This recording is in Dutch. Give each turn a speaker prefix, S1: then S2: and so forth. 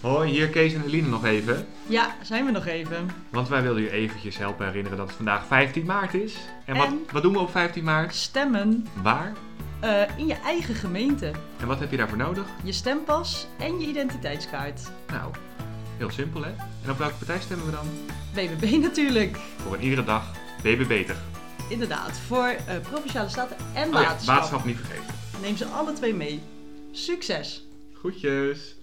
S1: Hoi, hier Kees en Eline nog even.
S2: Ja, zijn we nog even.
S1: Want wij wilden u eventjes helpen herinneren dat het vandaag 15 maart is. En,
S2: En?
S1: Wat, wat doen we op 15 maart?
S2: Stemmen
S1: Waar?
S2: eh, in je eigen gemeente.
S1: En wat heb je daarvoor nodig?
S2: Je stempas en je identiteitskaart.
S1: Nou, heel simpel hè. En op welke partij stemmen we dan?
S2: BBB natuurlijk.
S1: Voor een iedere dag BB Beter.
S2: Inderdaad, voor eh, Provinciale Staten en
S1: Oh ja,
S2: Waterschap.
S1: waterschap niet vergeten.
S2: Neem ze alle twee mee. Succes!
S1: Groetjes.